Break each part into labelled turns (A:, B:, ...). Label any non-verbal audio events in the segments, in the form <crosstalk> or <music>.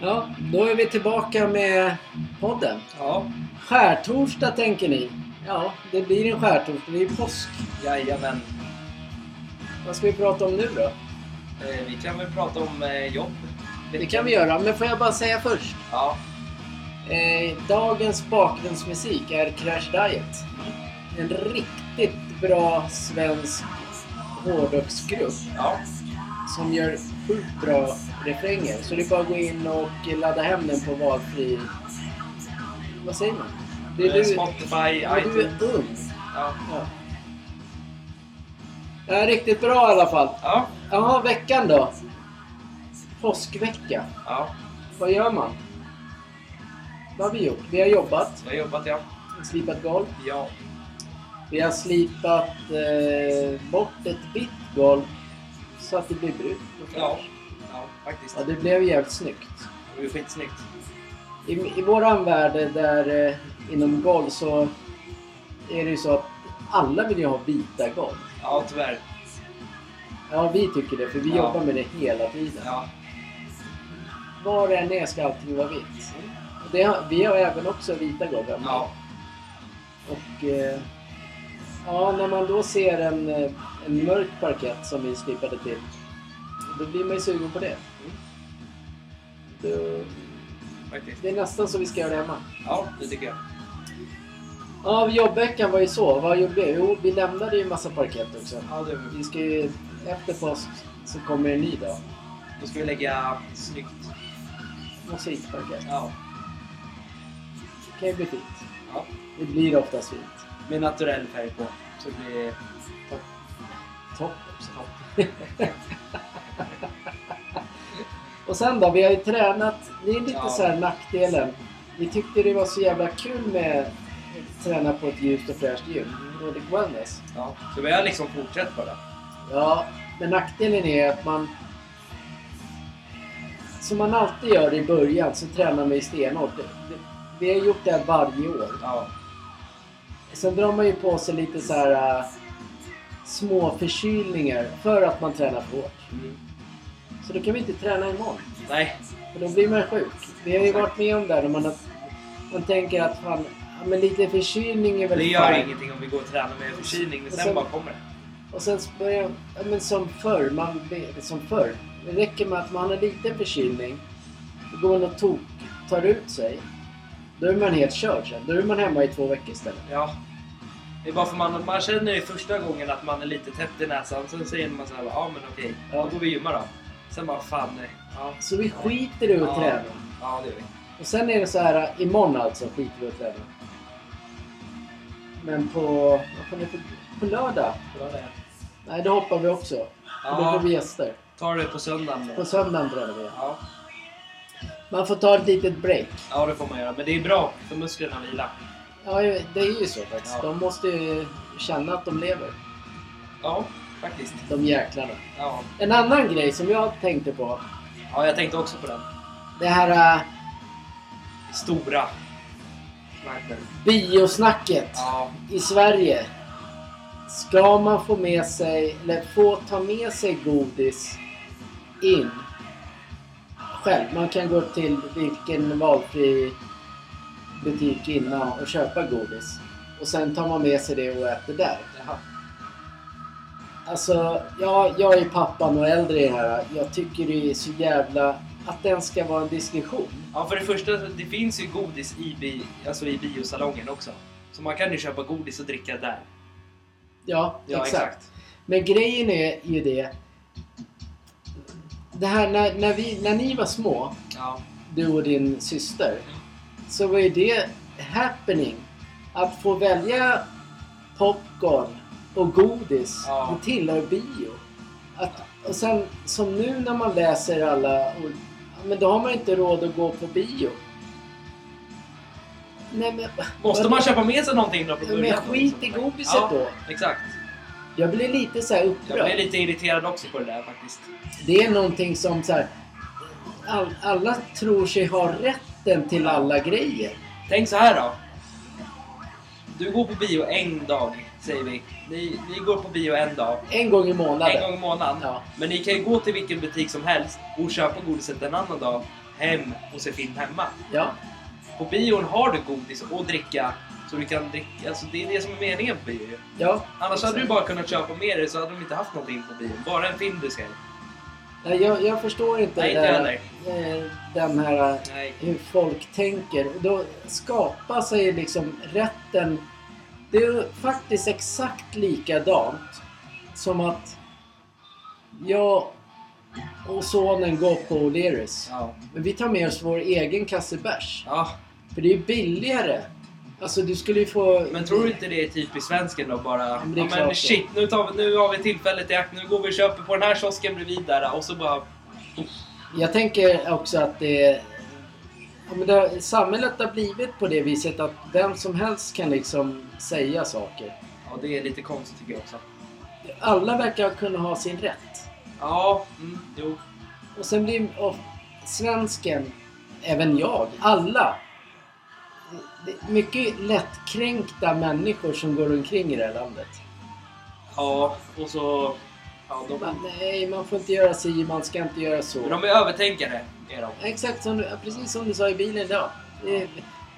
A: Ja, då är vi tillbaka med podden.
B: Ja,
A: Skärtorsdag tänker ni? Ja, det blir en skärtorsdag. Det är ju påsk.
B: jajamän.
A: Vad ska vi prata om nu då?
B: Eh, Vi kan väl prata om eh, jobb.
A: Det kan vi göra, men får jag bara säga först.
B: Ja,
A: Eh, dagens bakgrundsmusik är Crash Diet. En riktigt bra svensk hårdrocksgrupp
B: ja.
A: som gör sjukt bra refränger. Så det är bara att gå in och ladda hem den på valfri... Vad säger man? Det är
B: Eh,
A: du,
B: Spotify,
A: ja, du
B: iTunes.
A: är ung.
B: Ja.
A: Ja. Det är riktigt bra i alla fall.
B: Ja,
A: Jaha, veckan då? Påskvecka.
B: ja.
A: Vad gör man? Vad har vi gjort? Vi har jobbat,
B: Jag har jobbat ja.
A: slipat golv.
B: Ja,
A: Vi har slipat eh, bort ett vitt golv så att det blir brunt. och
B: ja.
A: fräscht.
B: ja faktiskt.
A: ja, det blev jävligt snyggt.
B: Det var skitsnyggt.
A: I, i våran värld där eh, inom golv så är det ju så att alla vill ju ha vita golv.
B: Ja, tyvärr.
A: Ja, vi tycker det för vi
B: Ja.
A: jobbar med det hela tiden.
B: Ja,
A: Var det än är ska allting vara vitt. Och Det, har- vi har även också vita golv hemma.
B: ja.
A: Och eh, ja, när man då ser en, eh, en mörk parkett som vi slipade till, då blir man ju sugen på det. Mm. Då,
B: faktiskt.
A: det är nästan så vi ska göra det hemma.
B: Ja, det tycker jag.
A: Ja, jobbveckan var ju så. Vad gjorde vi? Jo, vi lämnade ju en massa parkett också.
B: Ja, du.
A: Vi ska ju, efter påsk så kommer en ny dag.
B: Då ska vi lägga snyggt.
A: Mosaikparkett.
B: Ja.
A: kan ju bli fint.
B: ja.
A: Det blir oftast fint.
B: Med naturell färg på. Så det blir topp.
A: Topp också.
B: topp.
A: <laughs> Och sen då, vi har ju tränat. Det är lite
B: Ja.
A: så här nackdelen. Vi tyckte det var så jävla kul med att träna på ett ljust och fräscht gym. Nordic Wellness.
B: Ja. Så vi har liksom fortsatt bara.
A: Ja, men nackdelen är att man... Som man alltid gör i början så tränar man ju stenhårt. Det- det- Vi har gjort det här varje år.
B: Ja.
A: Sen drar man ju på sig lite så här äh, små förkylningar för att man tränar för hårt.
B: Mm.
A: Så då kan vi inte träna imorgon.
B: Nej.
A: För då blir man sjuk. Vi har ju varit med om det här när man, har, man tänker att fan, ja, men lite förkylning är väl
B: Det gör
A: fine.
B: ingenting om vi går och tränar med förkylning. Men
A: Och sen-
B: sen bara kommer det.
A: Och sen så börjar ja, men som förr, man, blir- som förr. Det räcker med att man har lite förkylning. Då går man och tok, tar ut sig. Då är man helt körd sen. Då är man hemma i två veckor istället.
B: Ja. Det är bara för man, man känner ju första gången att man är lite täppt i näsan. Sen säger man såhär, ja men okej.
A: Ja.
B: Då går vi och gymmar då. Sen bara, fan nej. Ja,
A: Så vi skiter i att
B: Ja.
A: träna.
B: ja det gör vi.
A: Och sen är det så här, imorgon alltså skiter vi i att träna. Men på, vad fan är det för- på lördag,
B: Bra det.
A: nej då hoppar vi också. För Då
B: Ja.
A: får vi gäster.
B: Ta det på söndagen.
A: På
B: då.
A: söndagen tränar vi.
B: Ja.
A: Man får ta ett litet break.
B: ja, det får man göra. Men det är bra för musklerna att vila.
A: Ja, det är ju så faktiskt.
B: Ja.
A: De måste ju känna att de lever,
B: Ja, faktiskt.
A: de jäklarna.
B: Ja.
A: En annan grej som jag tänkte på.
B: ja, jag tänkte också på den.
A: Det här äh,
B: Stora marknaden.
A: biosnacket
B: Ja,
A: i Sverige. Ska man få med sig, eller få ta med sig godis in själv? Man kan gå till vilken valfri butik innan och köpa godis. Och sen tar man med sig det och äter där.
B: jaha.
A: Alltså, jag, jag är pappan och äldre i det här. Jag tycker det är så jävla... Att den ska vara en diskussion.
B: ja för det första, det finns ju godis i, bi, alltså i biosalongen också. Så man kan ju köpa godis och dricka där.
A: Ja,
B: Ja,
A: exakt.
B: exakt.
A: Men grejen är ju det... Det här när, när, vi, när ni var små,
B: Ja.
A: du och din syster, så var ju det happening. Att få välja popcorn och godis,
B: Ja.
A: det tillhör bio. Att, och sen som nu när man läser alla, och, men då har man inte råd att gå på bio. Nej men,
B: Måste man köpa med sig någonting då från
A: men
B: början?
A: skit i godiset
B: ja,
A: då.
B: Exakt.
A: Jag blir lite så här upprörd.
B: Jag blev lite irriterad också på det där faktiskt.
A: Det är någonting som så här, all, alla tror sig ha rätten till alla grejer.
B: Tänk så här då. Du går på bio en dag, säger vi. Ni, ni går på bio en dag.
A: En gång i månaden.
B: En gång i månaden.
A: Ja.
B: Men ni kan ju gå till vilken butik som helst och köpa godiset en annan dag hem och se film hemma.
A: Ja.
B: På bion har du godis och dricka. Så du kan dricka. Alltså det är det som är meningen på bio ju.
A: ja.
B: Annars hade du
A: exakt.
B: bara kunnat köpa med dig så hade de inte haft någonting på bion. Bara en film du ser.
A: Nej, jag, jag förstår inte,
B: Nej, inte
A: det-
B: heller.
A: eh, den här eh,
B: Nej.
A: hur folk tänker. Och Då skapar sig liksom rätten. Det är ju faktiskt exakt likadant som att jag och sonen går på O'Learys.
B: Ja.
A: Men vi tar med oss vår egen kasse bärs.
B: ja.
A: För det är ju billigare. Alltså du skulle ju få...
B: Men tror du inte det är typiskt svensken då bara? Ja,
A: men det är
B: men
A: klart det.
B: shit, nu, tar vi, nu har vi tillfället i akt. Nu går vi och köper på den här kiosken bredvid där. Och så bara...
A: Jag tänker också att det... Ja, men det samhället har blivit på det viset att vem som helst kan liksom säga saker.
B: Ja, det är lite konstigt tycker jag också.
A: Alla verkar kunna ha sin rätt.
B: Ja, mm, jo.
A: Och sen blir och svensken, även jag, alla. Det är mycket lättkränkta människor som går omkring i det här landet.
B: Ja, och så... Ja, de,
A: Man, nej, man får inte göra si, man ska inte göra
B: men
A: så.
B: de är övertänkare, är de.
A: Exakt som du, ja, precis som du sa i bilen idag. Det är-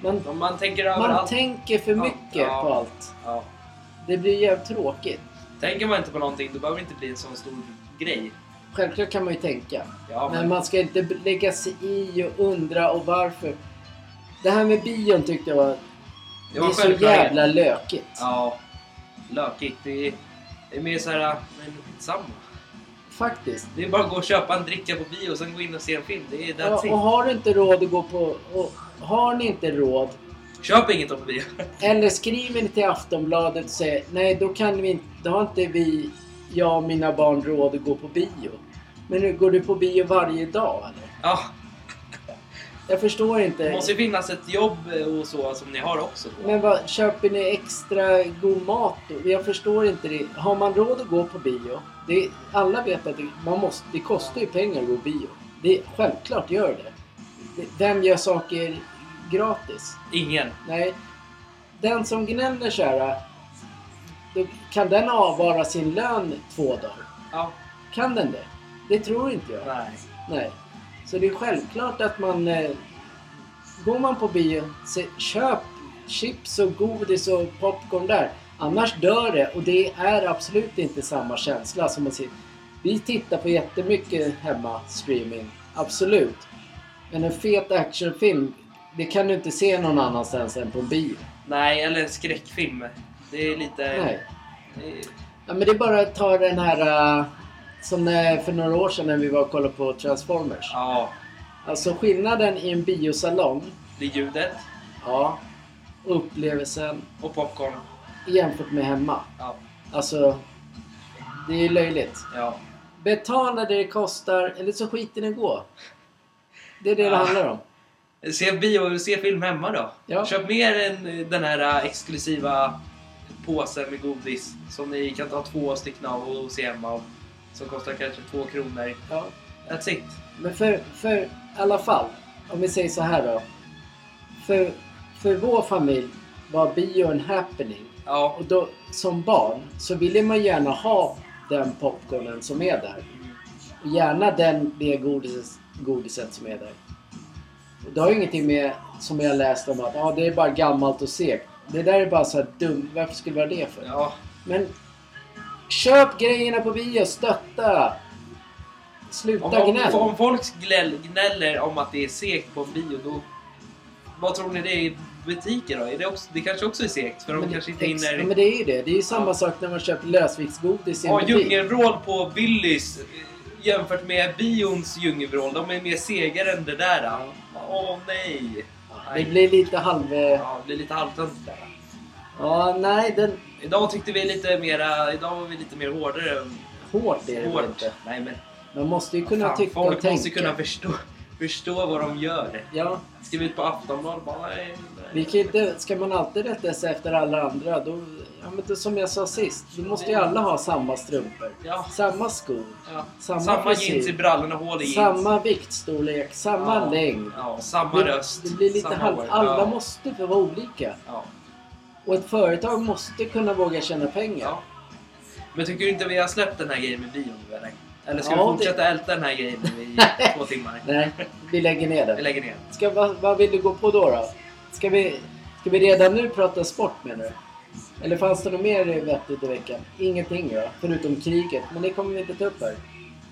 A: Man,
B: de man tänker
A: man
B: överallt.
A: tänker för
B: Ja,
A: mycket
B: ja.
A: på allt.
B: ja.
A: Det blir jävligt tråkigt.
B: Tänker man inte på någonting, då behöver det inte bli en sån stor grej.
A: Självklart kan man ju tänka.
B: Ja,
A: Men man ska inte lägga sig i och undra och varför. Det här med bion tyckte jag var Det, är så
B: självklarhet.
A: jävla lökigt.
B: Ja, lökigt. Det är, det är mer såhär, men skitsamma.
A: Faktiskt.
B: Det är bara att gå och köpa en dricka på bio och sen gå in och se en film. Det är that's
A: Ja, och har du inte råd att gå på... Och har ni inte råd,
B: it. Köp inget på bio.
A: eller skriver ni till Aftonbladet och säger nej, då kan vi inte... Då har inte vi, jag och mina barn råd att gå på bio. Men nu går du på bio varje dag eller?
B: <laughs> Ja,
A: Jag förstår
B: det
A: inte.
B: måste ju finnas ett jobb och så som ni har också. Då.
A: Men vad, köper ni extra god mat då? Jag förstår inte det. Har man råd att gå på bio? Det, alla vet att det, man måste, det kostar ju pengar att gå på bio. Det, självklart gör det. det. Vem gör saker gratis?
B: Ingen.
A: Nej. Den som gnäller så här, äh, då kan den avvara sin lön två dagar?
B: Ja,
A: Kan den det? Det tror inte jag.
B: nej.
A: Nej. Så det är självklart att man... Eh, går man på bio, se, köp chips och godis och popcorn där. Annars dör det och det är absolut inte samma känsla som att se... Vi tittar på jättemycket hemma, streaming. Absolut. Men en fet actionfilm, det kan du inte se någon annanstans än på en bio.
B: Nej, eller en skräckfilm. Det är lite...
A: Nej.
B: Det är,
A: Ja, men det är bara att ta den här... eh, Som när, för några år sedan när vi var och kollade på Transformers.
B: ja,
A: Alltså skillnaden i en biosalong
B: det är ljudet
A: Ja. Upplevelsen
B: och popcorn.
A: jämfört med hemma.
B: Ja,
A: Alltså, det är löjligt.
B: ja.
A: Betala det det kostar, eller så skiter ni gå. Det är det det
B: Ja.
A: handlar om.
B: Se bio, se film hemma då.
A: Ja.
B: Köp med er en, den här eh, exklusiva påsen med godis som ni kan ta två stycken av och se hemma av. Som kostar kanske två kronor.
A: Ja.
B: That's it.
A: Men för, för i alla fall, om vi säger så här då. För, för vår familj var bio en happening.
B: Ja.
A: Och då, som barn så ville man gärna ha den popcornen som är där. Och Gärna den, det godiset, godiset som är där. Och det har ju ingenting med, som jag läst om, att ah, det är bara gammalt och segt. Det där är bara så här dumt. Varför skulle det vara det för?
B: Ja.
A: Men köp grejerna på bio, stötta!
B: Om,
A: Sluta
B: om,
A: gnäll!
B: om folk gnäll, gnäller om att det är segt på en bio då... Vad tror ni det är i butiker då? Är det, också, det kanske också är segt för de
A: Men-
B: kanske inte
A: ex-
B: hinner...
A: ja, men det är ju det. Det är ju samma
B: Ja.
A: sak när man köper lösviktsgodis i en
B: Ja,
A: butik.
B: djungelvrål på Willys eh, jämfört med bions djungelvrål. De är mer segare än det där. Åh nej!
A: Det blir lite halv...
B: Ja, det blir lite halvtöntigt där.
A: Ja, nej, den...
B: Idag tyckte vi lite mera... Idag var vi lite mer hårdare.
A: Hårt är det väl
B: Hårt.
A: inte.
B: Nej men
A: Man måste ju kunna
B: fan,
A: tycka
B: folk
A: och tänka.
B: måste kunna förstå, förstå vad de gör.
A: Ja,
B: Skriv ut på Aftonbladet bara... Nej, nej.
A: vi kan ju inte, ska man alltid rätta sig efter alla andra, då, ja, men då, som jag sa sist, då måste ju alla ha samma strumpor,
B: Mm. Ja.
A: samma skor,
B: Ja.
A: Samma
B: Samma,
A: frisyr.
B: jeans i brallorna, hål i jeans.
A: samma viktstorlek, samma
B: Ja.
A: längd.
B: Ja, samma
A: Det,
B: röst.
A: det blir lite
B: samma
A: halv...
B: hår.
A: Alla
B: ja.
A: måste få vara olika.
B: Ja.
A: Och ett företag måste kunna våga tjäna pengar.
B: Ja. Men tycker du inte vi har släppt den här grejen med bion nu eller? Eller ska
A: Ja,
B: vi
A: det-
B: fortsätta älta den här grejen i
A: <laughs>
B: två timmar?
A: Nej, vi lägger ner
B: Vi
A: det.
B: lägger ner.
A: Ska, vad, vad vill du gå på då? då? Ska, vi, ska vi redan nu prata sport menar du? Eller fanns det något mer vettigt i veckan? Ingenting ja, förutom kriget. Men det kommer vi inte ta upp här.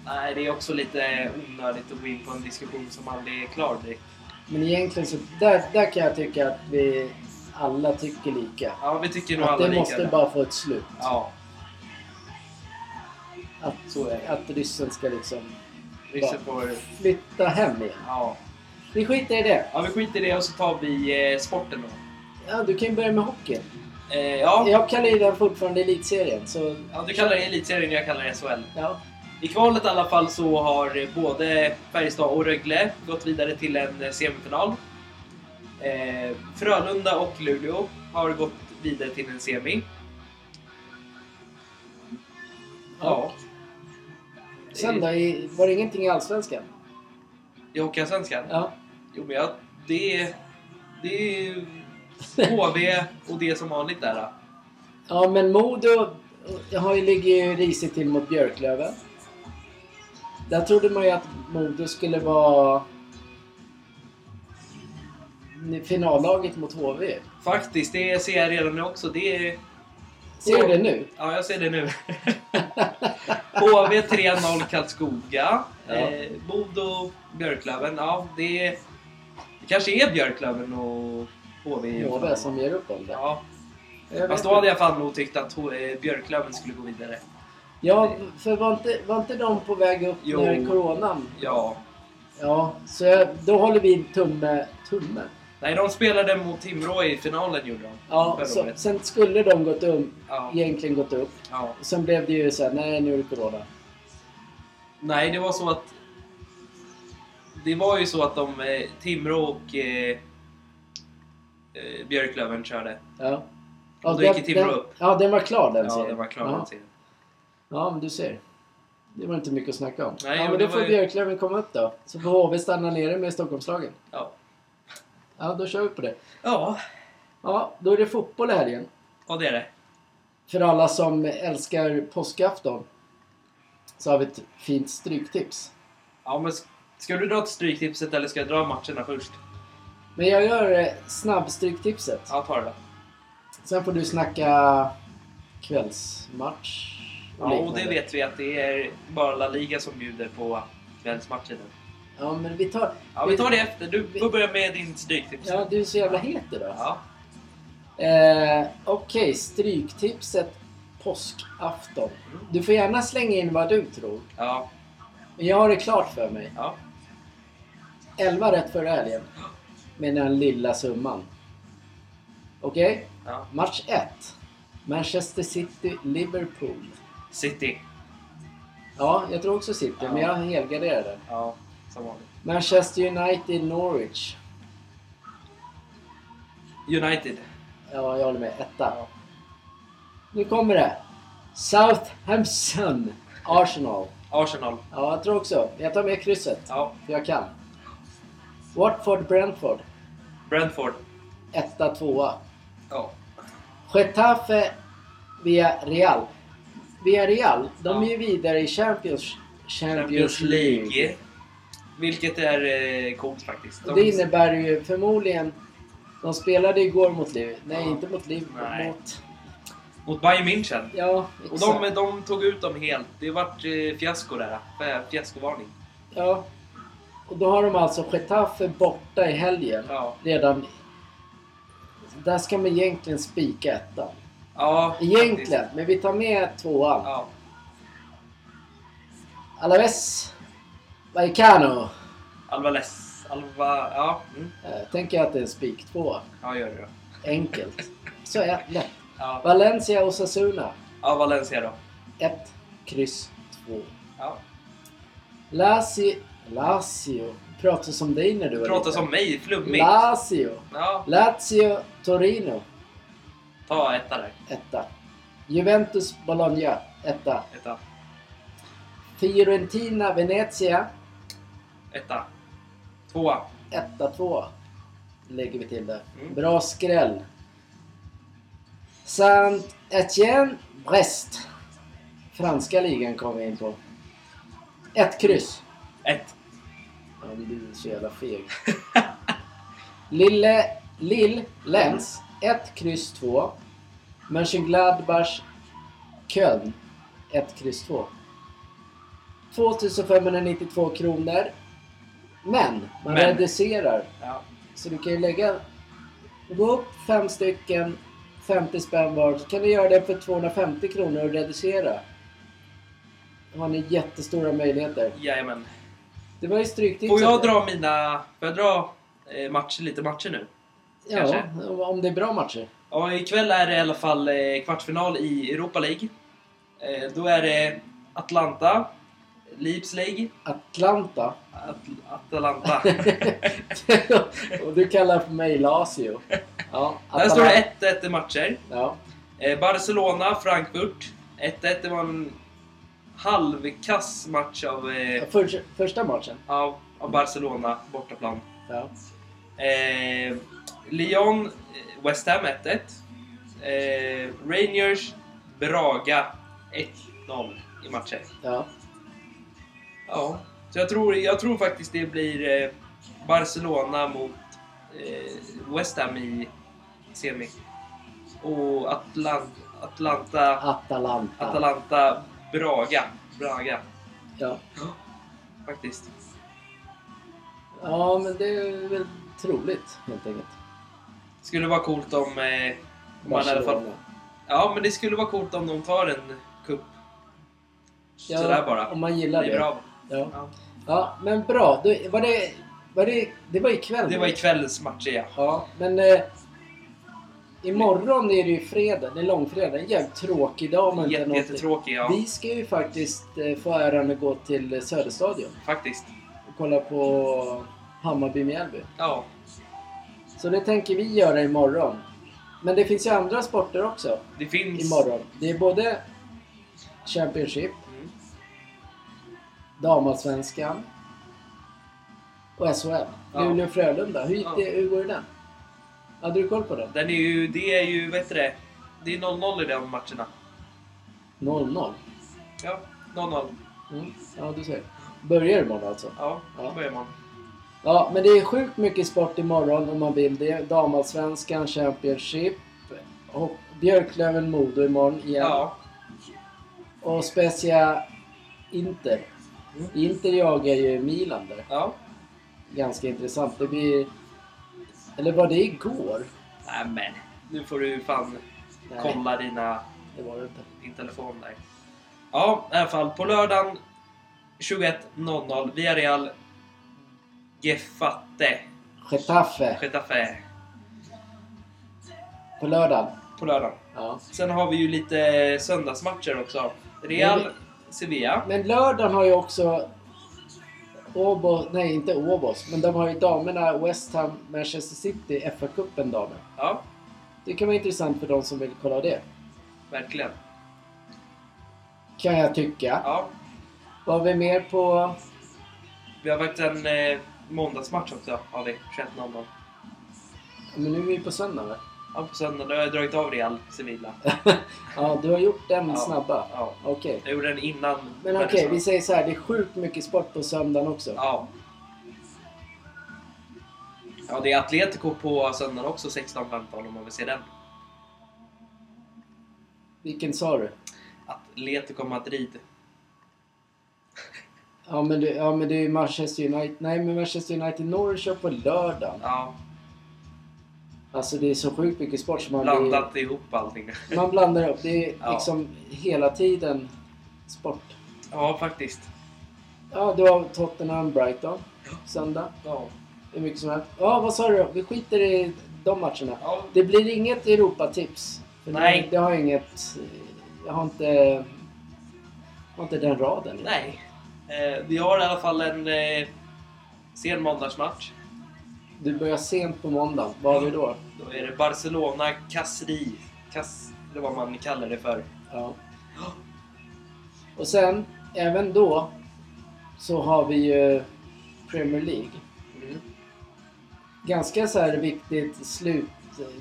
B: Nej, det är också lite onödigt att gå in på en diskussion som aldrig är klar direkt.
A: Men egentligen så, där, där kan jag tycka att vi alla tycker lika.
B: Ja, vi tycker nog
A: Att
B: alla
A: det
B: lika.
A: måste
B: där.
A: bara få ett slut.
B: Ja,
A: Att,
B: så är det.
A: att ryssen ska liksom
B: ryssen får...
A: flytta hem igen.
B: Ja.
A: Vi skiter i det.
B: ja, vi skiter i det och så tar vi eh, sporten då.
A: Ja, du kan ju börja med hockeyn.
B: Eh, ja.
A: Jag kallar ju den fortfarande elitserien. Så,
B: ja, du kallar det elitserien, jag kallar det SHL.
A: ja.
B: I kvalet i alla fall så har både Färjestad och Rögle gått vidare till en semifinal. Eh, Frölunda och Luleå har gått vidare till en semi. Ja, Eh,
A: Sen då? I, var det ingenting i Allsvenskan?
B: i Hockeyallsvenskan?
A: Ja.
B: Jo, men jag, det, är-
A: <laughs>
B: det är HV och det som vanligt där. då.
A: Ja, men Modo har ju, ligger ju risigt till mot Björklöven. Där trodde man ju att Modo skulle vara finallaget mot HV.
B: Faktiskt, det ser jag redan nu också. Det är,
A: Ser du det nu?
B: ja, jag ser det nu. <laughs> HV 3-0 Karlskoga.
A: Ja.
B: Eh, Bodo Björklöven. Ja, det, är- det kanske är Björklöven och HV. i
A: HV
B: finalen.
A: som ger upp om det.
B: Ja,
A: Jag vet
B: fast då
A: inte.
B: hade jag fan nog tyckt att H- eh, Björklöven skulle gå vidare.
A: Ja, för var inte, var inte de på väg upp
B: Jo.
A: när coronan?
B: Ja.
A: Ja, så jag, då håller vi tumme... Tumme?
B: Nej, de spelade mot Timrå i finalen gjorde de.
A: Ja,
B: Förra
A: så,
B: året.
A: sen skulle de gått upp,
B: Ja,
A: egentligen gått upp.
B: ja.
A: Sen blev det ju såhär, nej nu är det corona.
B: Nej, det var så att... Det var ju så att de, eh, Timrå och eh, eh, Björklöven körde.
A: Ja.
B: Och då gick
A: den-
B: ju Timrå
A: den-
B: upp.
A: Ja, den var klar den
B: Ja,
A: serien.
B: det var klart
A: ja.
B: den serien.
A: ja, men du ser. Det var inte mycket att snacka om.
B: Nej,
A: ja,
B: men
A: men
B: det
A: då får
B: var ju-
A: Björklöven komma upp då. Så får HV stanna nere med Stockholmslagen.
B: Ja.
A: Ja, då kör vi på det.
B: ja,
A: Ja, då är det fotboll i helgen.
B: och det är det.
A: För alla som älskar påskafton så har vi ett fint stryktips.
B: Ja, men s- ska du dra till stryktipset eller ska jag dra matcherna först?
A: Men jag gör eh, snabbstryktipset.
B: Ja, ta det då.
A: Sen får du snacka kvällsmatch
B: Ja, och det
A: liknande.
B: vet vi att det är bara La Liga som bjuder på kvällsmatcher nu.
A: Ja, men vi tar...
B: Ja, vi tar det efter. Du
A: Vi-
B: får börja med din stryktips.
A: Ja, du är så jävla het idag.
B: Ja.
A: Eh, Okej, stryktipset påskafton. Du får gärna slänga in vad du tror.
B: Ja.
A: Men jag har det klart för mig.
B: ja.
A: 11 rätt förra helgen. Med den lilla summan. Okej?
B: ja.
A: Match 1. Manchester City-Liverpool.
B: City.
A: Ja, jag tror också City,
B: Ja.
A: men jag helgarderade.
B: Ja, som vanligt.
A: Manchester United-Norwich.
B: United.
A: Ja, jag håller med. Etta.
B: Ja.
A: Nu kommer det. Southampton. Arsenal.
B: Arsenal.
A: Ja, jag tror också. Jag tar med krysset.
B: Ja.
A: För jag kan. Watford-Brentford.
B: Brentford.
A: Etta, tvåa.
B: Ja.
A: Getafe via Real. Via Real, de är
B: Ja.
A: ju vidare i Champions,
B: Champions League. Vilket är eh, coolt faktiskt.
A: Och det innebär ju förmodligen... De spelade igår mot Liverpool. Nej,
B: Ja.
A: inte mot Liverpool.
B: Nej.
A: Mot...
B: Mot Bayern München.
A: Ja,
B: Och
A: exakt.
B: de, de tog ut dem helt. Det vart eh, fiasko där. eh, Fiaskovarning.
A: Ja. Och då har de alltså Getafe borta i helgen.
B: Ja.
A: Redan... Där ska man egentligen spika ettan.
B: Ja. faktiskt.
A: Egentligen, men vi tar med tvåan.
B: Ja.
A: Alaves Vallecano.
B: Alvarez. Alva... Ja. Mm.
A: Eh, tänker jag att det är en spik två.
B: Ja, gör det då.
A: Enkelt. Så är det.
B: Ja.
A: Valencia och Osasuna.
B: ja, Valencia då.
A: Ett, kryss, två.
B: Ja.
A: Lazio. Lazio. Pratas om dig när du var
B: Prata
A: liten.
B: som mig, flummigt.
A: Lazio.
B: Ja,
A: Lazio Torino.
B: ta etta där.
A: Etta. Juventus Bologna. Etta.
B: Etta.
A: Fiorentina Venezia.
B: Etta. Tvåa.
A: Etta, tvåa. Lägger vi till det.
B: Mm.
A: Bra skräll. Saint Etienne Brest. Franska ligan kommer vi in på. Ett kryss.
B: Ett.
A: Ja, du är så jävla feg. Lille, Lill, Lens. 1, kryss 2. Mönchengladbach, Köln. 1, kryss 2. 2592 kronor. Men man
B: Men.
A: reducerar.
B: Ja.
A: Så du kan ju lägga... Gå upp fem stycken, 50 spänn var. Så kan du göra det för 250 kronor och reducera. Då har ni jättestora möjligheter.
B: Jajamän.
A: Det var ju stryktipset.
B: Får jag dra mina... Får jag dra eh, matcher, lite matcher nu?
A: Ja,
B: kanske?
A: om det är bra matcher.
B: Ja, ikväll är det i alla fall eh, kvartsfinal i Europa League. Eh, Då är det Atlanta, Leeds League,
A: Atlanta. <laughs>
B: At- Atalanta.
A: och du kallar för mig Lazio. Ja,
B: <laughs> Där står det 1-1 i matcher.
A: Ja.
B: Eh, Barcelona, Frankfurt. 1-1. Det var en halvkass match av, eh,
A: För, första matchen.
B: av, av Barcelona, bortaplan.
A: Ja.
B: Eh, Lyon, eh, West Ham 1-1. Eh, Rangers, Braga 1-0 i matcher.
A: ja.
B: Ja, så jag tror, jag tror faktiskt det blir eh, Barcelona mot eh, West Ham i semi. Och Atlan- Atlanta,
A: Atalanta.
B: Atalanta, Braga. Braga,
A: Ja.
B: faktiskt.
A: ja, men det är väl troligt helt enkelt.
B: Skulle vara coolt om... Eh, om man i alla fall,
A: Barcelona.
B: ja, men det skulle vara coolt om de tar en cup.
A: Ja,
B: Sådär bara.
A: Om man
B: Det
A: gillar det.
B: är bra.
A: Ja.
B: Ja.
A: ja, men bra. Du, var det, var det, det var ikväll.
B: Det var ikvällens matcher, ja.
A: Ja, men eh, imorgon är det ju fredag. Det är långfredag. En jävligt tråkig dag. om man inte har
B: Jätte,
A: någonting.
B: jättetråkig, ja.
A: Vi ska ju faktiskt eh, få äran att gå till eh, Söderstadion
B: Faktiskt.
A: och kolla på Hammarby-Mjällby.
B: Ja.
A: Så det tänker vi göra imorgon. Men det finns ju andra sporter också
B: Det finns...
A: imorgon. Det är både Championship,
B: Mm.
A: Damallsvenskan och SHL.
B: Ja.
A: Luleå-Frölunda. Hur, gick
B: Ja.
A: det- hur går det den? Hade du koll på den?
B: Den är ju, det är ju, vet du det? Det är 0-0 i de matcherna.
A: 0-0.
B: Ja, 0-0.
A: Mm. Ja, du ser. Börjar imorgon alltså?
B: Ja,
A: Ja.
B: då börjar man.
A: Ja, men det är sjukt mycket sport imorgon om man vill det. Damallsvenskan, Championship, och Björklöven-Modo imorgon igen.
B: Ja.
A: Och Spezia Inter.
B: Mm.
A: Inter jagar ju Milan där.
B: ja.
A: Ganska intressant. Det blir... Eller var det igår?
B: Nej men. Nu får du fan
A: Nej,
B: kolla dina,
A: det var det inte.
B: din telefon där. Ja, i alla fall. På lördagen 21.00 Villarreal Gefate
A: Getafe
B: Getafe
A: på lördagen.
B: på lördagen.
A: Ja.
B: Sen har vi ju lite söndagsmatcher också. Real Sevilla.
A: Men lördagen har ju också... Åbo, nej inte Åbos, men de har ju damerna West Ham, Manchester City, FA-cupen damer.
B: Ja,
A: Det kan vara intressant för de som vill kolla det.
B: verkligen.
A: Kan jag tycka.
B: Ja,
A: Vad har vi mer på...
B: vi har varit en eh, måndagsmatch också har vi. 21.00.
A: Men nu är vi på söndag va? <laughs>
B: Ja, på söndag. Då har jag dragit av Real Sevilla.
A: Ja, du har gjort den
B: Ja.
A: snabba.
B: Ja,
A: Okej.
B: jag gjorde den innan.
A: Men okej, vi säger så här. Det är sjukt mycket sport på söndagen också.
B: Ja. Ja, det är Atletico på söndagen också 16.15 om man vill se den.
A: Vilken sa du?
B: Atletico Madrid.
A: Ja men, det, ja, men det är ju Manchester United. Nej, men Manchester United Norwich kör på lördagen.
B: Ja,
A: Alltså det är så sjukt mycket sport som man
B: blandat ihop allting.
A: Blir, man blandar upp. Det är
B: Ja.
A: liksom hela tiden sport.
B: Ja, faktiskt.
A: Ja, du har Tottenham Brighton söndag.
B: Ja.
A: Hur mycket som helst. Ja, vad sa du då? Vi skiter i de matcherna.
B: Ja,
A: Det blir inget Europatips. För
B: Nej.
A: Det, det har inget... Jag har inte... Jag har inte den raden.
B: nej. Eh, vi har i alla fall en eh, sen måndagsmatch.
A: Du börjar sent på måndag. Vad har vi då?
B: Då är det Barcelona Casri. Cas... Det är vad man kallar det för.
A: Ja. Och sen, även då, så har vi ju Premier League.
B: Mm.
A: Ganska så här viktigt slut,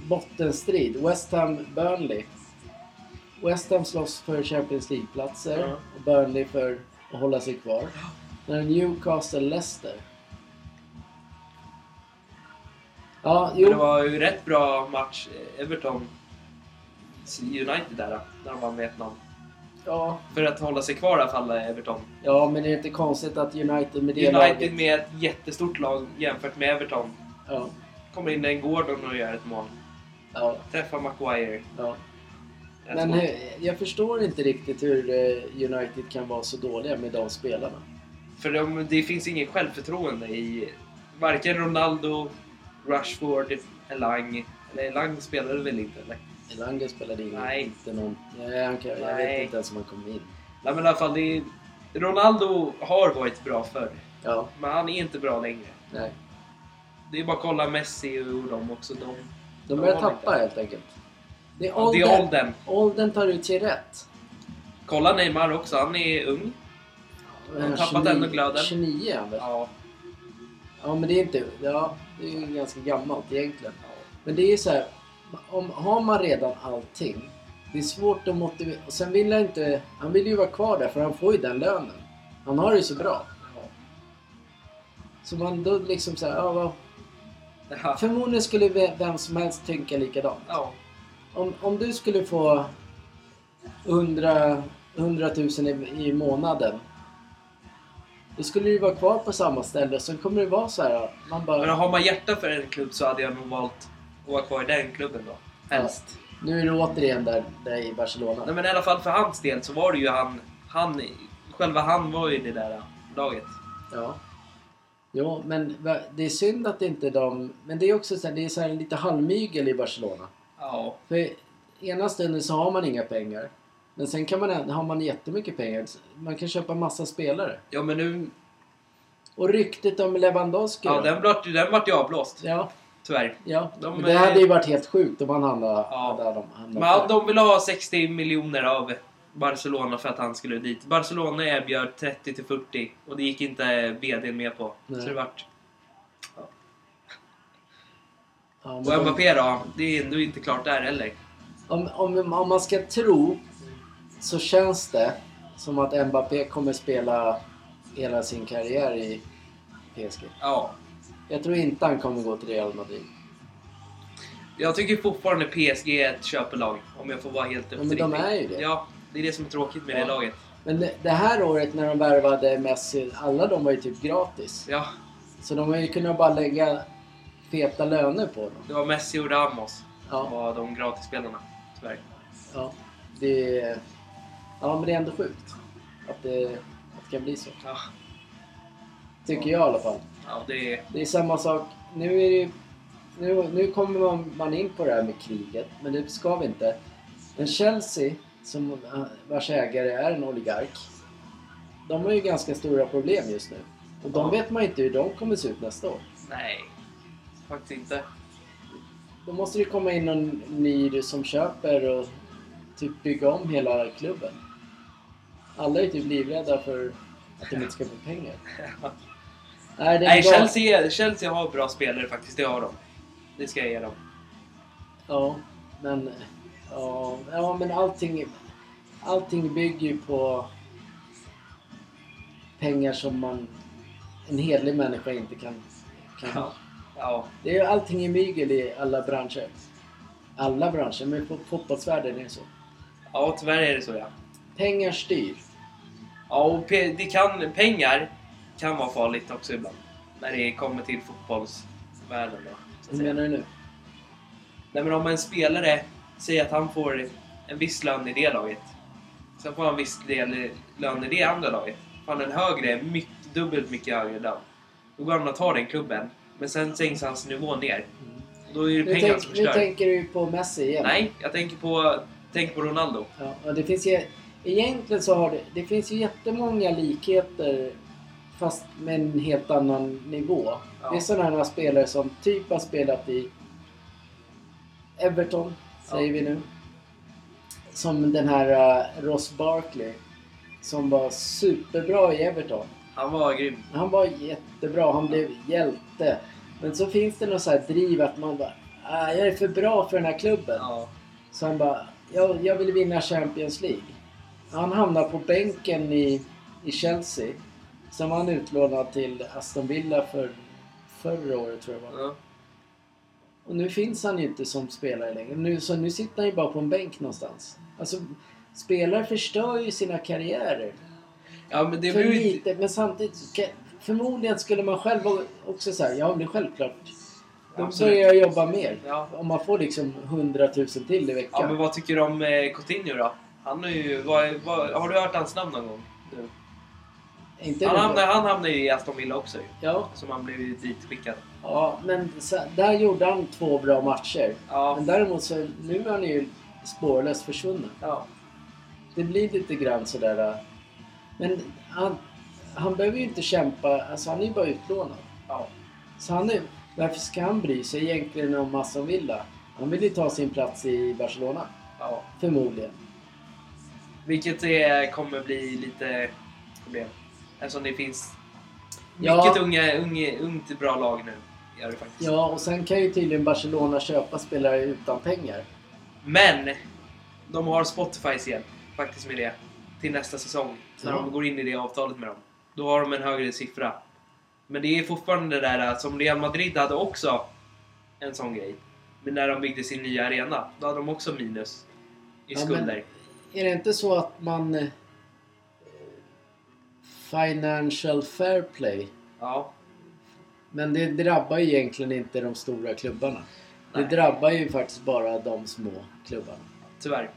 A: bottenstrid. West Ham, Burnley. West Ham slåss för Champions League-platser
B: Ja.
A: och Burnley för att hålla sig kvar. När Newcastle Leicester. Ja,
B: Men Det
A: jo.
B: var ju rätt bra match eh, Everton United där, när de vann med 1-0.
A: Ja,
B: För att hålla sig kvar i alla fall, eh, Everton.
A: ja, men det är inte konstigt att United med det
B: United
A: laget...
B: med ett jättestort lag jämfört med Everton.
A: Ja,
B: Kommer in en Gordon och gör ett mål.
A: ja,
B: Träffar Maguire.
A: ja.
B: Ett
A: Men
B: mål.
A: hur- jag förstår inte riktigt hur eh, United kan vara så dåliga med de spelarna.
B: För de, det finns ingen självförtroende i varken Ronaldo, Rushford, Elang. Eller Elang spelade väl inte? Eller?
A: Elanga spelade in
B: Nej.
A: inte någon... Nej, han kan, jag
B: Nej.
A: vet inte ens om han kom in.
B: Nej men i alla fall, det, Ronaldo har varit bra förr.
A: Ja,
B: Men han är inte bra längre.
A: nej.
B: Det är bara att kolla Messi och dem också. De,
A: De
B: De
A: börjar
B: har
A: tappa
B: inte.
A: helt enkelt. Det är
B: det är
A: åldern.
B: åldern.
A: Åldern tar ut sig rätt.
B: Kolla Neymar också, han är ung.
A: Men
B: har
A: han
B: tappat
A: 29
B: ändå glöden.
A: 29 är han Eh, väl?
B: Ja.
A: Ja, men det är inte... Ja, det är ju ganska gammalt egentligen. Men det är ju så här, om, har man redan allting, det är svårt att motivera. Och sen vill han inte, han vill ju vara kvar där för han får ju den lönen. Han har det ju så bra. Så man då liksom så här, ja, vad-
B: Ja. <laughs>
A: förmodligen skulle ve- vem som helst tänka likadant.
B: ja.
A: Om, om du skulle få 100, 100 000 i, i månaden, då skulle du vara kvar på samma ställe. Sen kommer det vara så här, man
B: Men
A: bara,
B: har man hjärta för en klubb så hade jag nog valt att vara kvar i den klubben då. Helst.
A: nu är du återigen där, där i Barcelona.
B: Nej men i alla fall för hans del så var det ju han, han själva han var ju i det där laget.
A: Ja. Jo, men va- det är synd att inte de... Men det är också så här, det är så här lite halvmygel i Barcelona.
B: Ja.
A: För ena stunden så har man inga pengar. Men sen kan man, ä- har man jättemycket pengar. Man kan köpa massa spelare.
B: Ja men nu,
A: Och ryktet om Lewandowski
B: ja
A: då?
B: den vart, den vart ju avblåst.
A: ja,
B: Tyvärr.
A: ja.
B: De
A: Men det
B: är-
A: hade ju varit helt sjukt om han hamnade,
B: Ja.
A: hade de hamnat
B: Men
A: där.
B: han- de ville ha 60 miljoner av Barcelona för att han skulle dit. Barcelona erbjöd 30 till 40 och det gick inte vdn med på.
A: Nej.
B: Så det vart.
A: Ja, men
B: Och
A: de-
B: Mbappé då, det är ändå inte klart där heller.
A: om, om, om man ska tro så känns det som att Mbappé kommer spela hela sin karriär i PSG.
B: Ja.
A: Jag tror inte han kommer gå till Real Madrid.
B: Jag tycker fortfarande PSG är ett köpelag, om jag får vara helt
A: Ja, men de
B: uppriktig.
A: är ju det.
B: Ja, det är det som är tråkigt med
A: Ja.
B: det laget.
A: Men det- det här året när de värvade Messi, alla de var ju typ gratis.
B: Ja,
A: Så de har ju kunnat bara lägga feta löner på dem.
B: det var Messi och Ramos som
A: Ja,
B: var de gratisspelarna, tyvärr.
A: ja. Det är, ja men det är ändå sjukt att det, att det kan bli så.
B: Ja,
A: Tycker jag i alla fall.
B: ja det är...
A: Det är samma sak. Nu, är det, ju- nu, nu kommer man, man in på det här med kriget, men det ska vi inte. Men Chelsea, som, eh, vars ägare är en oligark, de har ju ganska stora problem just nu. Och de
B: Ja.
A: vet man inte hur de kommer se ut nästa år.
B: Nej, faktiskt inte.
A: Då måste det komma in någon ny som köper och typ bygga om hela klubben. Alla är typ livrädda för att de inte ska få
B: <laughs>
A: pengar. Nej, det är
B: Nej,
A: bra.
B: Chelsea, Chelsea har bra spelare faktiskt, det har de. Det ska jag ge dem.
A: Ja, men... Ja, ja men allting, allting bygger ju på pengar som man... En hedlig människa inte kan... kan
B: Ja. Ja,
A: Det är ju allting i mygel i alla branscher. Alla branscher, men på fotbollsvärlden är det så.
B: ja tyvärr är det så ja.
A: Pengar styr.
B: Ja, och pe- det kan, pengar kan vara farligt också ibland. När det kommer till fotbollsvärlden då. så att
A: Hur
B: säga.
A: menar du nu?
B: Nej men om en spelare säger att han får en viss lön i det laget. Sen får han en viss del i- lön i det andra laget. Får han en högre, mycket, dubbelt mycket högre lön. Då går han och tar den klubben. Men sen sänks hans nivå ner. Då är det
A: Nu,
B: pengarna
A: tänk,
B: som
A: nu
B: förstör.
A: tänker du ju på Messi igen.
B: Nej, jag tänker på, tänk på Ronaldo.
A: Ja, och det finns ju, egentligen så har det, det finns ju jättemånga likheter fast med en helt annan nivå.
B: Ja.
A: Det är sådana här spelare som typ har spelat i Everton, säger
B: Ja.
A: vi nu. Som den här eh, Ross Barkley som var superbra i Everton.
B: Han var grym.
A: Han var jättebra, han blev hjälte. Men så finns det något så här driv att man bara ah, jag är för bra för den här klubben.
B: Ja.
A: Så han bara, jag, jag vill vinna Champions League. Han hamnar på bänken i, i Chelsea. Sen var han utlånad till Aston Villa för, förra året tror jag det var.
B: Ja.
A: Och nu finns han ju inte som spelare längre. Nu, så nu sitter han ju bara på en bänk någonstans. Alltså, spelare förstör ju sina karriärer.
B: ja, men det
A: för
B: blir ju inte...
A: lite, men samtidigt... så kan- Förmodligen skulle man själv också säga, ja men det är självklart. Då
B: Absolut.
A: börjar jag jobba mer.
B: Ja.
A: Om man får liksom 100 000 till i veckan.
B: Ja, men vad tycker du om eh, Coutinho då? Han är ju... Vad, vad, har du hört hans namn någon gång? Nu?
A: Inte
B: Han
A: det-
B: hamnade, han hamnade ju i Aston Villa också ju.
A: Ja,
B: Som han blev ju ditskickad.
A: ja, men så, där gjorde han två bra matcher.
B: Ja.
A: Men däremot så, nu är han ju spårlöst försvunnen.
B: ja.
A: Det blir lite grann sådär... äh, Men han, han behöver ju inte kämpa, alltså han är ju bara utlånad.
B: ja.
A: Så han är, varför ska han bry sig egentligen om Aston Villa? Han vill ju ta sin plats i Barcelona,
B: ja.
A: förmodligen.
B: Vilket är, kommer bli lite problem. Eftersom det finns
A: Ja.
B: mycket unga, unga, ungt bra lag nu. Gör det faktiskt.
A: Ja, och sen kan ju tydligen Barcelona köpa spelare utan pengar.
B: Men! De har Spotifys hjälp faktiskt med det. Till nästa säsong. När
A: Ja.
B: de går in i det avtalet med dem. Då har de en högre siffra. Men det är fortfarande det där äh, som Real Madrid hade också en sån grej. Men när de byggde sin nya arena, då hade de också minus i
A: Ja, men-
B: skulder.
A: Är det inte så att man... eh, Financial fair play.
B: Ja.
A: Men det drabbar ju egentligen inte de stora klubbarna.
B: Nej.
A: Det drabbar ju faktiskt bara de små klubbarna.
B: Tyvärr.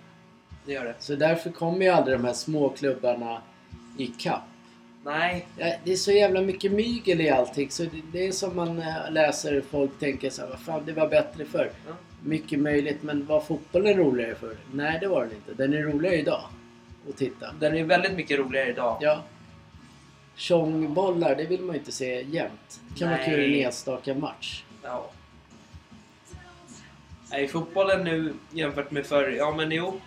B: Det gör det.
A: Så därför kommer ju aldrig de här små klubbarna i kapp.
B: Nej.
A: Ja, Det är så jävla mycket mygel i allting så det, det är som man eh, läser folk tänker så här, vad fan det var bättre förr.
B: Ja.
A: Mycket möjligt men var fotbollen roligare förr? Nej det var den inte. Den är roligare idag. Att titta.
B: Den är väldigt mycket roligare idag.
A: Ja. Tjongbollar, det vill man ju inte se jämt. Det kan vara kul i
B: Nej.
A: en enstaka match.
B: Ja. Nej, fotbollen nu jämfört med förr. Ja, men jo.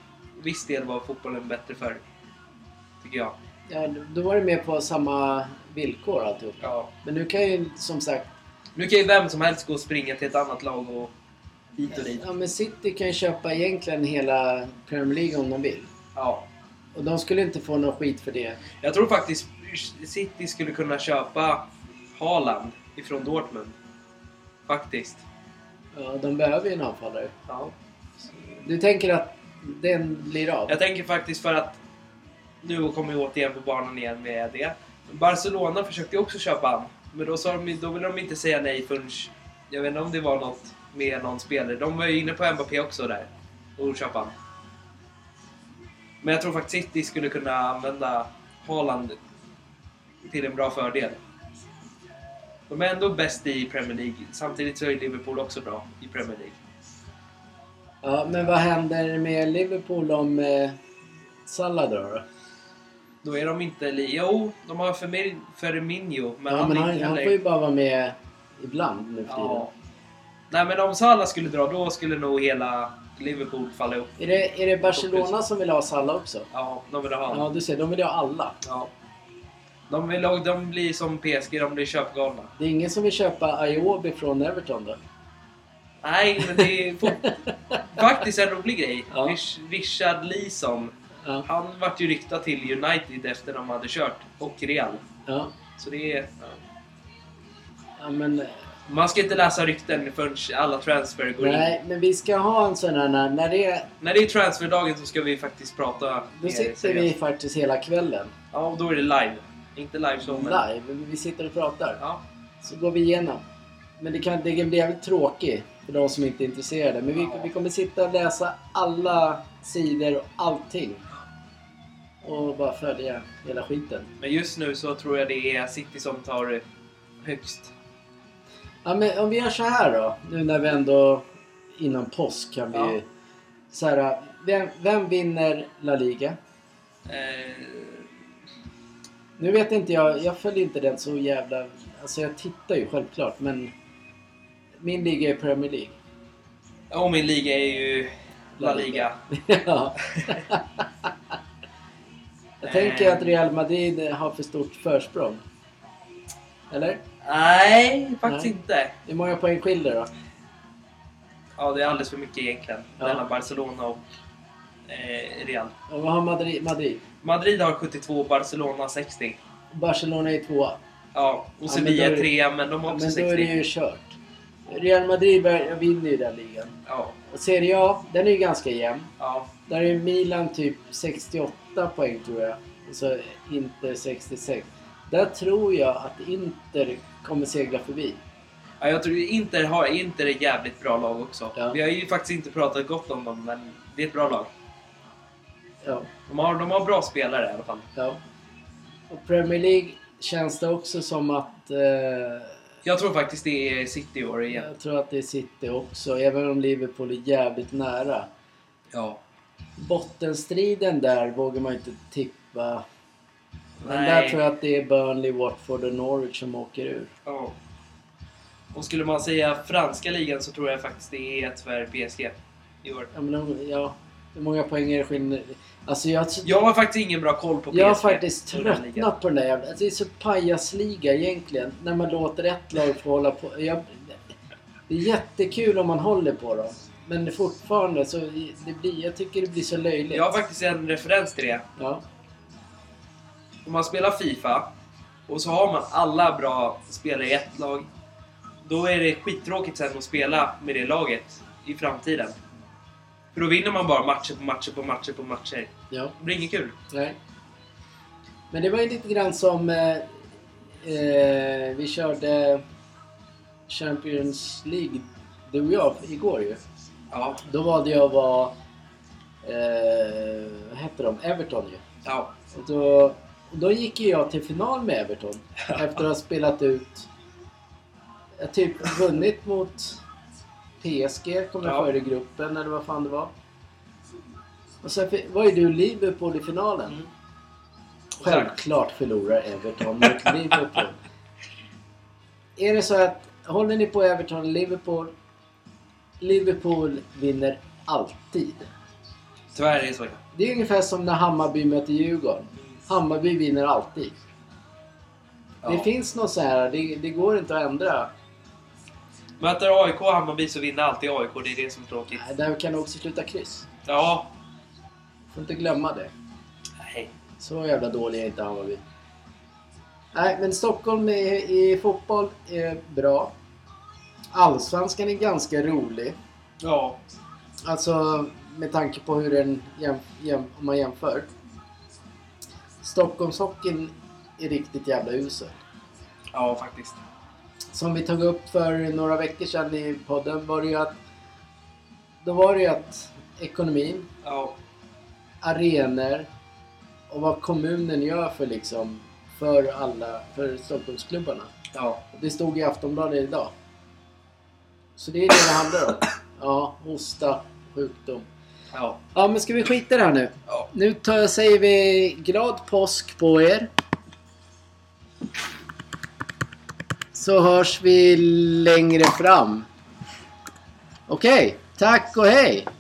B: Viss del var fotbollen bättre förr. Tycker jag.
A: Ja, då var det mer på samma villkor alltihop.
B: Ja.
A: Men nu kan ju som sagt...
B: Nu kan ju vem som helst gå och springa till ett annat lag och hit och dit.
A: Ja, men City kan ju köpa egentligen hela Premier League om de vill.
B: Ja.
A: Och de skulle inte få någon skit för det.
B: Jag tror faktiskt City skulle kunna köpa Haaland ifrån Dortmund. Faktiskt.
A: Ja, de behöver ju en anfallare.
B: Ja.
A: Du tänker att den blir av?
B: Jag tänker faktiskt för att nu kommer vi återigen på barnen igen med det. Barcelona försökte ju också köpa han, men då, sa de, då ville de inte säga nej förrän... Jag vet inte om det var något med någon spelare. De var ju inne på Mbappé också där och köpa han. Men jag tror faktiskt City skulle kunna använda Haaland till en bra fördel. De är ändå bäst i Premier League. Samtidigt så är Liverpool också bra i Premier League.
A: Ja, men vad händer med Liverpool om eh, Salah drar då?
B: Då är de inte... Li- jo, de har Fermin- Firmino, men
A: Ja,
B: han
A: men
B: är
A: han,
B: inte
A: han
B: heller...
A: får ju bara vara med ibland nu för tiden.
B: ja. Nej, men om Salah skulle dra, då skulle nog hela Liverpool falla upp.
A: Är, det, är det Barcelona som vill ha Salah också?
B: Ja, de vill ha
A: Ja,
B: honom.
A: du ser, de vill ha alla.
B: Ja. De, vill, och de blir som PSG, de blir köpgalna.
A: Det är ingen som vill köpa Ayobi från Everton då?
B: Nej, men det
A: <laughs>
B: är fot- faktiskt en rolig grej.
A: Ja.
B: Rich- Richard Leeson,
A: Ja.
B: han vart ju ryktad till United efter de hade kört, och Real.
A: Ja,
B: Så det är...
A: ja men... eh,
B: Man ska inte läsa rykten förrän alla transfer går in.
A: Nej, men vi ska ha en sån här när, när det...
B: När det är transferdagen så ska vi faktiskt prata
A: Då
B: mer
A: sitter vi
B: seriöst.
A: faktiskt hela kvällen
B: Ja, och då är det live. Inte live som... men-
A: live. Vi sitter och pratar.
B: Ja.
A: Så går vi igenom. Men det, kan, det blir jävligt tråkigt för de som inte är intresserade. Men vi,
B: Ja.
A: vi kommer sitta och läsa alla sidor och allting. Och bara följa hela skiten.
B: Men just nu så tror jag det är City som tar eh, högst.
A: Ja, men om vi gör så här då. Nu när vi ändå... Innan påsk kan vi
B: Ja.
A: ju... Så här, vem, vem vinner La Liga?
B: Eh,
A: Nu vet inte jag, jag följer inte den så jävla... Alltså jag tittar ju självklart men... Min liga är Premier League. <laughs>
B: och min liga är ju La Liga.
A: ja. jag tänker att Real Madrid har för stort försprång. Eller?
B: Nej, faktiskt
A: Nej.
B: inte.
A: Hur många poäng skiljer då?
B: Ja, det är alldeles för mycket egentligen.
A: Ja.
B: Mellan Barcelona och eh, Real.
A: Och vad har Madrid? Madrid?
B: Madrid har 72, Barcelona 60.
A: Barcelona är tvåa.
B: Ja,
A: men
B: och Sevilla
A: då är-
B: är trea, men de har
A: Men
B: också
A: då är
B: 60.
A: det ju kört. Real Madrid bör- vinner ju den ligan.
B: Ja,
A: Och Serie A, den är ju ganska jämn.
B: ja,
A: Där är Milan typ 68 poäng tror jag. Och så Inter 66. Där tror jag att Inter kommer segla förbi.
B: ja. Jag tror ju Inter har... Inter är jävligt bra lag också.
A: Ja.
B: Vi har ju faktiskt inte pratat gott om dem, men det är ett bra lag.
A: Ja,
B: De har, de har bra spelare i alla fall.
A: ja. Och Premier League känns det också som att... Eh,
B: Jag tror faktiskt det är City i år igen.
A: jag tror att det är City också, även om Liverpool är jävligt nära.
B: Ja.
A: Bottenstriden där vågar man inte tippa. Men
B: Nej.
A: där tror jag att det är Burnley, Watford och Norwich som åker ur.
B: Ja. Och skulle man säga franska ligan så tror jag faktiskt det är ett för PSG i år.
A: Ja, men, de- ja, hur många poäng är det skillnad? Alltså jag,
B: Jag har faktiskt ingen bra koll på PSG.
A: jag har faktiskt
B: och den ligan.
A: tröttnat på den där jävla... Det är så pajasliga egentligen. När man låter ett lag få hålla på. Jag, det är jättekul om man håller på dem. Men fortfarande så... Det blir, jag tycker det blir så löjligt.
B: Jag har faktiskt en referens till det.
A: Ja,
B: Om man spelar FIFA och så har man alla bra spelare i ett lag. Då är det skittråkigt sen att spela med det laget i framtiden. För då vinner man bara matcher på matcher på matcher på matcher.
A: ja,
B: Det blir inget kul.
A: nej. Men det var ju lite grann som... Eh, eh, vi körde Champions League, du och jag, igår ju.
B: Ja.
A: Då valde jag att vara... Eh, vad hette de? Everton ju.
B: Ja.
A: Och då, och då gick ju jag till final med
B: <laughs>
A: Everton. Efter att ha spelat ut... Jag har typ vunnit mot PSG, kommer jag
B: Ja.
A: före i gruppen eller vad fan det var. Och sen fi- var ju du Liverpool i finalen.
B: Mm.
A: Självklart förlorar Everton
B: <laughs>
A: mot Liverpool. Är det så att håller ni på Everton och Liverpool? Liverpool vinner alltid.
B: Tyvärr är det så.
A: Det är ungefär som när Hammarby möter Djurgården. Hammarby vinner alltid.
B: Ja.
A: Det finns något så här, det, det går inte att ändra.
B: Möter AIK och Hammarby så vinner alltid AIK. Det är det som är tråkigt.
A: Nej, Där kan du också sluta kryss.
B: Ja.
A: Får inte glömma det.
B: Nej.
A: Så jävla dålig är inte Hammarby. Nej, men Stockholm i, i fotboll är bra. Allsvenskan är ganska rolig.
B: Ja.
A: Alltså med tanke på hur den jäm, jäm, om man jämför. Stockholmshockeyn är riktigt jävla usel.
B: Ja, faktiskt.
A: Som vi tog upp för några veckor sedan i podden var det ju att då var det ju att ekonomin,
B: Ja.
A: arenor och vad kommunen gör för liksom för alla, för Stockholmsklubbarna.
B: Ja.
A: Det stod i Aftonbladet idag. Så det är det det handlar om. Ja, hosta, sjukdom.
B: Ja.
A: Ja, men ska vi skita i det här nu?
B: Ja.
A: Nu tar, säger vi glad påsk på er. Så hörs vi längre fram. Okej, tack och hej!